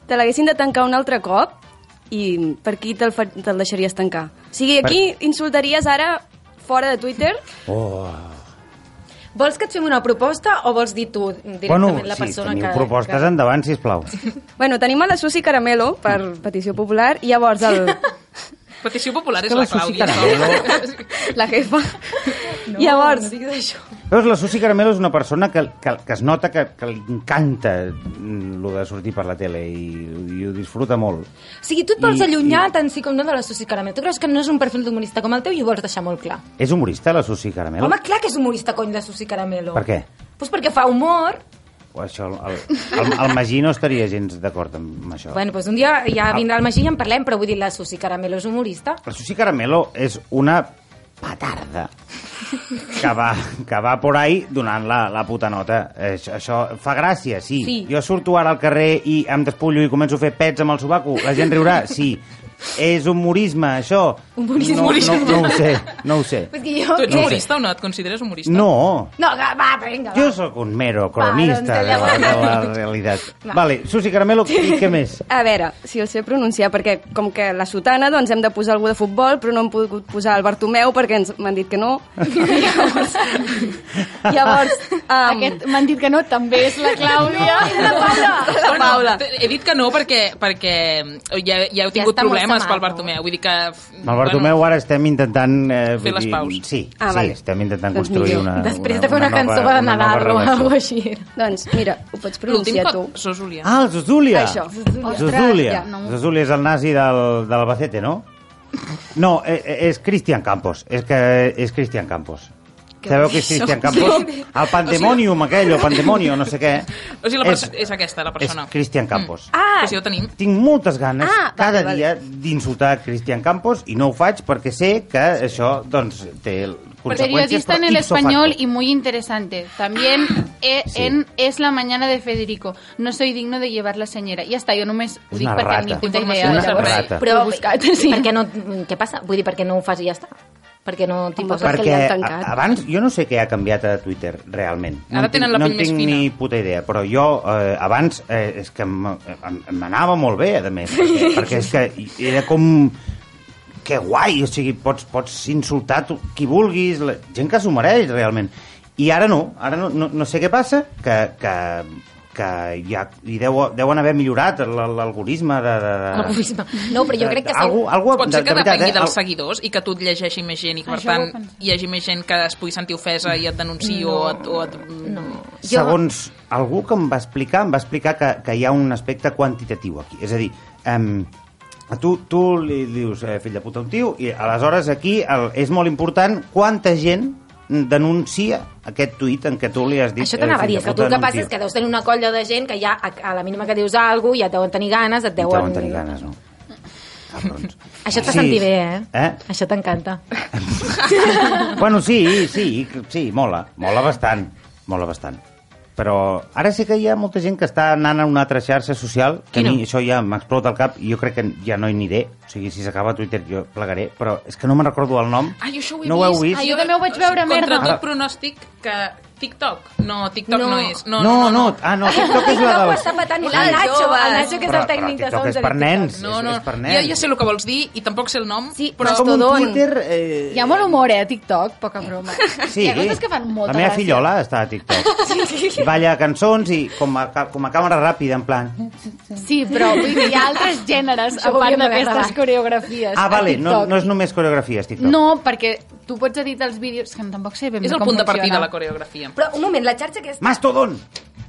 Speaker 5: te l'haguessin de tancar un altre cop i per qui te'l fa- te'l te deixaries tancar. O sigui, aquí insultaries ara fora de Twitter.
Speaker 6: Oh.
Speaker 3: Vols que et fem una proposta o vols dir tu directament la
Speaker 6: sí,
Speaker 3: persona
Speaker 6: teniu
Speaker 3: que...
Speaker 6: propostes eh?
Speaker 3: que...
Speaker 6: endavant, sisplau.
Speaker 5: Bueno, tenim a la Susi Caramelo per
Speaker 3: Mm.
Speaker 5: petició popular i llavors el,
Speaker 1: Petició popular és
Speaker 6: que
Speaker 1: la
Speaker 6: la Susi
Speaker 1: Clàudia.
Speaker 6: Caramelo-
Speaker 1: sola.
Speaker 5: la jefa. No, llavors,
Speaker 3: No diguis això.
Speaker 6: Veus, la Susi Caramelo és una persona que, que, que es nota que, que li encanta mm, lo de sortir per la tele i, i ho disfruta molt.
Speaker 3: O sigui, tu et vols
Speaker 6: I-
Speaker 3: allunyar tant sí com no de la Susi Caramel. Tu creus que no és un perfil d'humorista com el teu i ho vols deixar molt clar.
Speaker 6: És humorista, la Susi Caramelo?
Speaker 3: Home, clar que és humorista, cony, la Susi Caramelo.
Speaker 6: Per què?
Speaker 3: Pues perquè fa humor.
Speaker 6: O això, el, el, el Magí no estaria gens d'acord amb això.
Speaker 3: Bueno, pues un dia ja vindrà el Magí i en parlem, però vull dir, la Susi Caramelo és humorista.
Speaker 6: La Susi Caramelo és una petarda que va, que va por ahí donant la, la puta nota. Això, això fa gràcia, sí.
Speaker 3: Sí.
Speaker 6: Jo surto ara al carrer i em despullo i començo a fer pets amb el sobaco. La gent riurà, sí. És humorisme, això.
Speaker 3: Humorista.
Speaker 6: No, no, no ho sé, no ho sé.
Speaker 3: És que jo...
Speaker 1: Tu ets
Speaker 6: No ho sé.
Speaker 1: humorista o no? Et consideres humorista?
Speaker 6: No,
Speaker 3: No, va, va, vinga, va.
Speaker 6: jo sóc un mero cronista
Speaker 3: Va,
Speaker 6: de la,
Speaker 3: doncs,
Speaker 6: de la realitat. Vale, Susi Caramelo, i què més?
Speaker 5: A veure, si el sé pronunciar, perquè com que la sotana doncs hem de posar algú de futbol, però no hem pogut posar el Bartomeu perquè ens m'han dit que no. llavors, llavors
Speaker 4: Um...
Speaker 5: um,
Speaker 4: Aquest m'han dit que no, també és la Clàudia. la Paula.
Speaker 5: la Paula.
Speaker 1: T- He dit que no perquè, perquè eh, ja, ja heu tingut
Speaker 3: està molt
Speaker 1: problemes
Speaker 3: tamat,
Speaker 1: pel
Speaker 3: no?
Speaker 1: Bartomeu. Vull dir que...
Speaker 6: Amb el Bartomeu ara estem intentant... Eh,
Speaker 1: Fer
Speaker 6: vull
Speaker 1: les
Speaker 6: dir,
Speaker 1: paus.
Speaker 6: Sí,
Speaker 5: Ah,
Speaker 6: sí,
Speaker 5: vale.
Speaker 6: estem intentant
Speaker 5: Doncs
Speaker 6: construir
Speaker 5: millor.
Speaker 6: una, una...
Speaker 3: Després de fer una, cançó
Speaker 6: nova-
Speaker 3: de
Speaker 6: una nova
Speaker 3: Nadal o
Speaker 6: relació.
Speaker 3: alguna així. era.
Speaker 5: Doncs mira, ho pots
Speaker 1: L'últim
Speaker 5: pronunciar tu.
Speaker 1: cop... Sosulia.
Speaker 6: Ah, el Zuzúlia.
Speaker 5: Això,
Speaker 6: Zuzúlia.
Speaker 5: Zuzúlia.
Speaker 6: Zuzúlia.
Speaker 4: Ostres, ja, no.
Speaker 6: Zuzúlia és el nazi del, de l'Albacete, no? No, eh, eh, és Cristian Campos. És que és Cristian Campos. Sabeu que és Cristian Campos? El Pandemonium aquell, o Pandemonio, no sé què.
Speaker 1: O sigui, la és, és aquesta, la persona.
Speaker 6: És Cristian Campos.
Speaker 1: Ah! Que si ho tenim.
Speaker 6: Tinc moltes ganes
Speaker 5: Ah, vale,
Speaker 6: cada
Speaker 5: vale.
Speaker 6: dia d'insultar Cristian Campos i no ho faig perquè sé que això doncs, té conseqüències.
Speaker 4: Periodista en
Speaker 6: però
Speaker 4: el
Speaker 6: ipso facto.
Speaker 4: español y muy interesante. También eh,
Speaker 6: Sí.
Speaker 4: en Es la mañana de Federico. No soy digno de llevar la señora. Ja està, jo només ho dic
Speaker 6: Una
Speaker 4: perquè
Speaker 6: rata.
Speaker 4: ni puta idea.
Speaker 1: Una
Speaker 4: llavors.
Speaker 6: rata.
Speaker 4: Però ho he buscat, sí.
Speaker 3: Per què no... Què passa? Vull dir, per què no ho fas i ja està? Perquè no t'hi
Speaker 5: Home,
Speaker 3: poses?
Speaker 5: per-
Speaker 3: Perquè...
Speaker 5: que li
Speaker 6: perquè
Speaker 5: han
Speaker 6: a,
Speaker 5: tancat.
Speaker 6: abans jo no sé què ha canviat a Twitter realment. No
Speaker 1: Ara
Speaker 6: en
Speaker 1: tenen
Speaker 6: tinc-
Speaker 1: la
Speaker 6: no
Speaker 1: pell
Speaker 6: en
Speaker 1: més
Speaker 6: tinc
Speaker 1: fina.
Speaker 6: ni puta idea, però jo eh, abans eh, és que m- em- em- m'anava molt bé, a més, perquè, perquè és que era com que guai, o sigui, pots, pots insultar tu, qui vulguis, la gent que s'ho mereix realment. I ara no, ara no, no, no sé què passa, que, que, que ja hi deu, deuen haver millorat l- l'algoritme de, de, de...
Speaker 3: L'algoritme. No, però jo crec que
Speaker 6: Eh, Algú, algú,
Speaker 1: Pot ser que
Speaker 6: veritat,
Speaker 1: depengui
Speaker 6: eh?
Speaker 1: dels
Speaker 6: Al-
Speaker 1: seguidors i que tu et llegeixi més gent i que, per
Speaker 4: Això ho
Speaker 1: tant, hi hagi més gent que es pugui sentir ofesa i et denunciï o et... O et... No.
Speaker 3: Jo-
Speaker 6: segons algú que em va explicar, em va explicar que, que hi ha un aspecte quantitatiu aquí. És a dir, um, a tu, tu li dius eh, fill de puta a un tio i aleshores aquí el, és molt important quanta gent denuncia aquest tuit en què tu li has dit
Speaker 3: Això t'anava
Speaker 6: eh,
Speaker 3: a dir,
Speaker 6: fill
Speaker 3: és
Speaker 6: de
Speaker 3: que tu
Speaker 6: puta
Speaker 3: el que
Speaker 6: d'un
Speaker 3: passa
Speaker 6: tio.
Speaker 3: és que deus tenir una colla de gent que ja a, a la mínima que dius alguna cosa ja et deuen tenir ganes, et deuen...
Speaker 6: Deuen tenir ganes, no? Cabrons.
Speaker 3: Això t'ha sí.
Speaker 6: Sí.
Speaker 3: sentit bé, eh?
Speaker 6: Eh?
Speaker 3: Això t'encanta.
Speaker 6: Bueno, sí, sí, sí, mola. Mola bastant, mola bastant. Però ara sí que hi ha molta gent que està anant a una altra xarxa social, que a mi això ja m'explota el cap i jo crec que ja no hi aniré. O sigui, si s'acaba Twitter jo plegaré, però és que no me'n recordo el nom.
Speaker 1: Ai, jo això ho he vist.
Speaker 6: no ho heu vist?
Speaker 4: Ai, Ah, jo també ho vaig veure,
Speaker 1: Contra
Speaker 4: merda.
Speaker 1: tot
Speaker 6: Ara-
Speaker 1: pronòstic que TikTok. No, TikTok no,
Speaker 3: No.
Speaker 1: és.
Speaker 6: No, no, no. Ah, no, TikTok és la
Speaker 3: Ho
Speaker 6: dels...
Speaker 3: està patant molt
Speaker 5: Ah,
Speaker 3: el Nacho,
Speaker 5: joves.
Speaker 3: el Nacho que és
Speaker 6: Però-
Speaker 3: el tècnic
Speaker 6: però
Speaker 3: de
Speaker 6: TikTok
Speaker 3: sons.
Speaker 6: és per
Speaker 3: de
Speaker 6: nens.
Speaker 3: TikTok.
Speaker 1: No, no,
Speaker 6: és per
Speaker 1: ja,
Speaker 6: nens.
Speaker 1: ja sé el que vols dir i tampoc sé el nom,
Speaker 3: Sí,
Speaker 1: però...
Speaker 6: És com un
Speaker 3: Mastodon.
Speaker 6: Twitter... Eh...
Speaker 4: Hi ha molt humor, eh, a TikTok, poca broma.
Speaker 6: Sí,
Speaker 4: Hi ha coses que fan eh. molta
Speaker 6: la meva
Speaker 4: gràcia.
Speaker 6: fillola està a TikTok. Sí. Balla cançons i com a, ca- com a càmera ràpida, en plan...
Speaker 4: Sí, però vull dir que hi ha altres gèneres,
Speaker 3: Això
Speaker 4: a
Speaker 3: ho
Speaker 4: part
Speaker 3: hauríem d'haver
Speaker 4: d'aquestes
Speaker 3: gravat.
Speaker 4: coreografies
Speaker 6: Ah, vale,
Speaker 4: a
Speaker 6: no,
Speaker 4: TikTok.
Speaker 6: no és només coreografies, TikTok.
Speaker 4: No, perquè tu pots editar els vídeos... Que tampoc sé ben bé
Speaker 1: És el
Speaker 4: com
Speaker 1: punt de partida,
Speaker 4: funciona.
Speaker 1: la coreografia.
Speaker 3: Però un moment, la xarxa que és...
Speaker 6: Mastodon!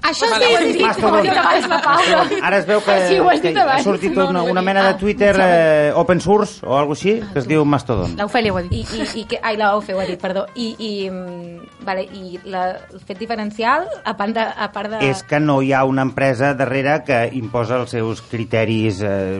Speaker 4: Això
Speaker 1: Vale,
Speaker 4: sí,
Speaker 1: ho
Speaker 4: ho
Speaker 1: has
Speaker 4: has dit,
Speaker 6: Mastodon.
Speaker 4: ho ha dit abans la Paula.
Speaker 6: Ara es veu que,
Speaker 4: Ah, sí, ho has
Speaker 6: que
Speaker 4: dit abans.
Speaker 6: ha sortit
Speaker 4: No,
Speaker 6: una,
Speaker 4: no ho he
Speaker 6: una
Speaker 4: dit.
Speaker 6: mena de
Speaker 4: Ah,
Speaker 6: Twitter
Speaker 4: em sembla.
Speaker 6: eh, open source o alguna així que es diu Mastodon.
Speaker 4: L'Ofèlia ho ha dit.
Speaker 3: I, i, i que, ai, la OFE ho ha dit, perdó. I, i, mm, vale, i la, el fet diferencial, a part de... A part de...
Speaker 6: És que no hi ha una empresa darrere que imposa els seus criteris eh,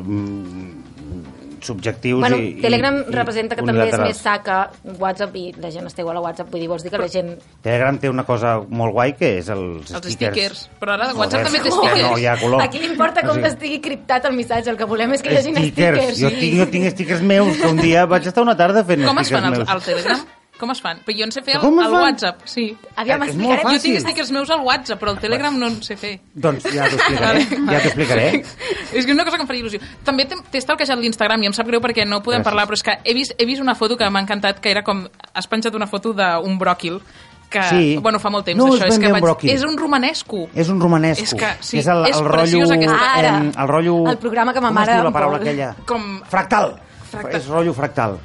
Speaker 6: mm, subjectius
Speaker 3: Bueno,
Speaker 6: i, i-
Speaker 3: Telegram
Speaker 6: i
Speaker 3: representa que també és
Speaker 6: unilaterals.
Speaker 3: més sa que WhatsApp i la gent està igual a WhatsApp. Vull dir, vols dir que la gent...
Speaker 6: Telegram té una cosa molt guai que és
Speaker 1: Els
Speaker 6: els, stickers.
Speaker 1: stickers. Però ara de
Speaker 6: Joder,
Speaker 1: WhatsApp també té
Speaker 6: és que
Speaker 1: stickers.
Speaker 6: No, hi ha color.
Speaker 3: A qui li importa com
Speaker 6: O sigui,
Speaker 3: estigui criptat el missatge? El que volem és que hi hagi
Speaker 6: stickers.
Speaker 3: stickers.
Speaker 6: Jo tinc, jo tinc stickers meus que un dia vaig estar una tarda fent
Speaker 1: Com es
Speaker 6: stickers
Speaker 1: fan els,
Speaker 6: meus.
Speaker 1: al Telegram? Com es fan? Però jo en sé fer el,
Speaker 6: Com es
Speaker 1: el
Speaker 6: fan?
Speaker 1: WhatsApp, sí.
Speaker 3: Aviam,
Speaker 6: Eh, és molt
Speaker 3: explicarem...
Speaker 1: Jo
Speaker 6: Fàcil. Ah,
Speaker 1: tinc stickers meus al WhatsApp, però el Telegram no en sé fer.
Speaker 6: Doncs ja t'ho explicaré. ja t'ho explicaré.
Speaker 1: és que és una cosa que em faria il·lusió. També t'he t'he stalkejat l'Instagram i em sap greu perquè no podem
Speaker 6: Gràcies.
Speaker 1: parlar, però és que he vist, he vist una foto que m'ha encantat, que era com... Has penjat una foto d'un bròquil que,
Speaker 6: Sí.
Speaker 1: bueno, fa molt temps,
Speaker 6: No és
Speaker 1: això.
Speaker 6: ben
Speaker 1: que
Speaker 6: bé un bròquil.
Speaker 1: és un romanesco.
Speaker 6: És un romanesco.
Speaker 1: És que, sí,
Speaker 6: és el,
Speaker 1: és
Speaker 6: el
Speaker 1: preciós
Speaker 6: rotllo,
Speaker 1: aquesta-
Speaker 3: Ara.
Speaker 6: em, el rotllo...
Speaker 3: El programa que ma
Speaker 6: com
Speaker 3: mare
Speaker 6: es diu la
Speaker 3: em
Speaker 6: paraula
Speaker 3: vol.
Speaker 6: aquella?
Speaker 1: Com-
Speaker 6: Fractal.
Speaker 1: Fractal.
Speaker 6: És rotllo fractal.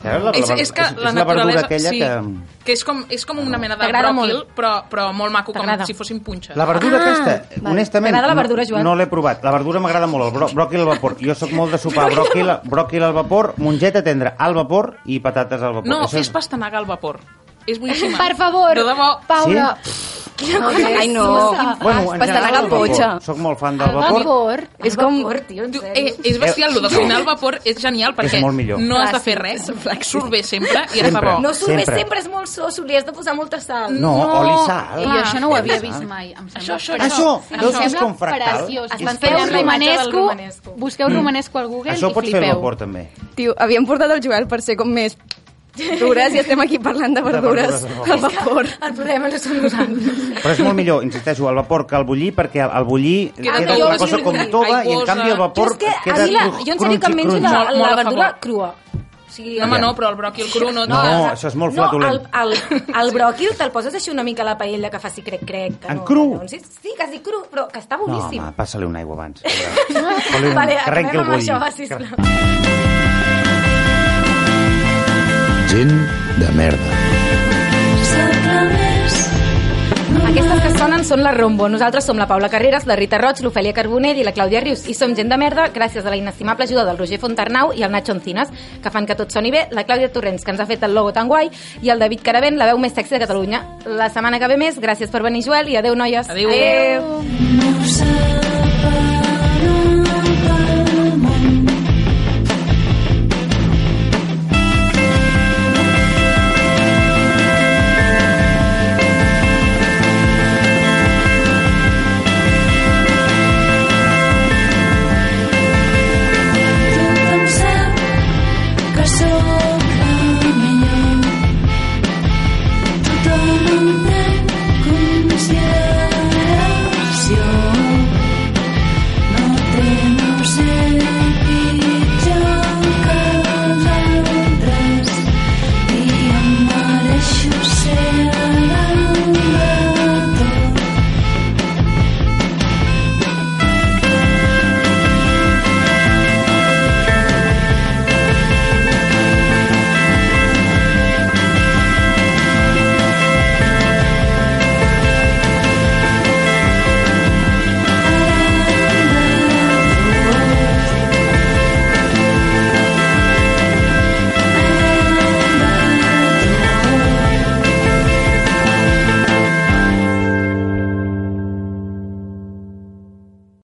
Speaker 6: Sabeu La,
Speaker 1: és, és que
Speaker 6: és,
Speaker 1: la
Speaker 6: és la verdura
Speaker 1: naturalesa...
Speaker 6: aquella
Speaker 1: sí,
Speaker 6: que...
Speaker 1: que és com, és com una mena de
Speaker 3: T'agrada
Speaker 1: bròquil,
Speaker 3: molt.
Speaker 1: però, però molt maco, com
Speaker 3: T'agrada.
Speaker 1: si fossin punxes.
Speaker 6: La verdura ah, aquesta,
Speaker 3: vale.
Speaker 6: honestament,
Speaker 3: T'agrada la
Speaker 6: no-
Speaker 3: verdura, Joan?
Speaker 6: no l'he provat. La verdura m'agrada molt, el bro bròquil al vapor. Jo sóc molt de sopar bròquil, bròquil al vapor, mongeta tendra al vapor i patates al vapor.
Speaker 1: No,
Speaker 6: Això
Speaker 1: és pastanaga al vapor. És boníssima.
Speaker 4: Per favor,
Speaker 1: De debò.
Speaker 4: Paula,
Speaker 5: Ai, no.
Speaker 6: Bueno, en
Speaker 5: Pastanaga
Speaker 6: general,
Speaker 5: al potxa.
Speaker 6: vapor. Sóc molt fan del
Speaker 4: al
Speaker 6: vapor.
Speaker 4: vapor...
Speaker 5: És com...
Speaker 3: Tio, en
Speaker 1: Tu,
Speaker 3: sèrio.
Speaker 1: eh, és bestial, el de cuinar al vapor és genial perquè
Speaker 6: molt millor.
Speaker 1: no has de fer res, surt bé sempre i és de
Speaker 6: Sempre.
Speaker 1: bo.
Speaker 3: No surt bé,
Speaker 6: sempre.
Speaker 3: sempre és molt sos, li has de posar molta sal.
Speaker 6: No, oli sal. Ah,
Speaker 4: I Ah, això no ho havia
Speaker 6: Oli
Speaker 4: vist
Speaker 6: sal.
Speaker 4: mai, em sembla.
Speaker 1: Això, això,
Speaker 4: preciós.
Speaker 6: Això,
Speaker 4: Em
Speaker 6: veus que és
Speaker 4: sembla
Speaker 6: com fractal?
Speaker 4: preciós.
Speaker 6: Es
Speaker 3: van
Speaker 4: Busqueu
Speaker 3: fer la imatge del
Speaker 4: romanesco,
Speaker 3: romanesco.
Speaker 4: busqueu romanesco al Google
Speaker 6: Això
Speaker 4: i
Speaker 6: pots fer al
Speaker 4: flipeu.
Speaker 6: vapor, també.
Speaker 5: tio, havíem portat el Joel per ser com més dures i estem aquí parlant de verdures
Speaker 6: verdures,
Speaker 5: al vapor.
Speaker 3: El problema no som nosaltres.
Speaker 6: Però és molt millor, insisteixo, al vapor que al bullir, perquè al- al bullir
Speaker 1: Queda
Speaker 6: queda
Speaker 1: tot
Speaker 6: la cosa
Speaker 1: aigüosa.
Speaker 6: com tova i en canvi el
Speaker 3: eh? Jo
Speaker 6: vapor
Speaker 3: és que, a
Speaker 6: queda
Speaker 3: mi, la,
Speaker 6: cru-
Speaker 3: jo en sèrio que
Speaker 6: crunchy,
Speaker 3: menjo la,
Speaker 6: crunchy.
Speaker 1: Molt,
Speaker 3: la
Speaker 1: molt a
Speaker 3: verdura
Speaker 1: favor.
Speaker 3: crua. O sigui,
Speaker 1: No, home, no, però el bròquil cru no...
Speaker 6: No,
Speaker 1: no.
Speaker 6: això és molt flatulent.
Speaker 3: No, el, el, el bròquil te'l poses així una mica a la paella que faci crec-crec. que
Speaker 6: En
Speaker 3: no,
Speaker 6: cru?
Speaker 3: No, sí, sí, quasi cru, però que està
Speaker 6: No,
Speaker 3: boníssim.
Speaker 6: home, passa-li una aigua abans. Vale,
Speaker 3: Vale,
Speaker 6: que
Speaker 3: acabem
Speaker 6: arrenqui el
Speaker 3: amb
Speaker 6: bullir.
Speaker 3: això, va, sisplau.
Speaker 2: Gent de merda.
Speaker 3: Aquestes que sonen són la Rombo. Nosaltres som la Paula Carreras, la Rita Roig, l'Ofèlia Carbonell i la Clàudia Rius. I som gent de merda gràcies a la inestimable ajuda del Roger Fontarnau i el Nacho Encinas, que fan que tot soni bé, la Clàudia Torrents, que ens ha fet el logo tan guai, i el David Caravent, la veu més sexy de Catalunya. La setmana que ve més, gràcies per venir, Joel, i adeu, noies.
Speaker 1: Adéu.
Speaker 3: Adeu.
Speaker 7: No sé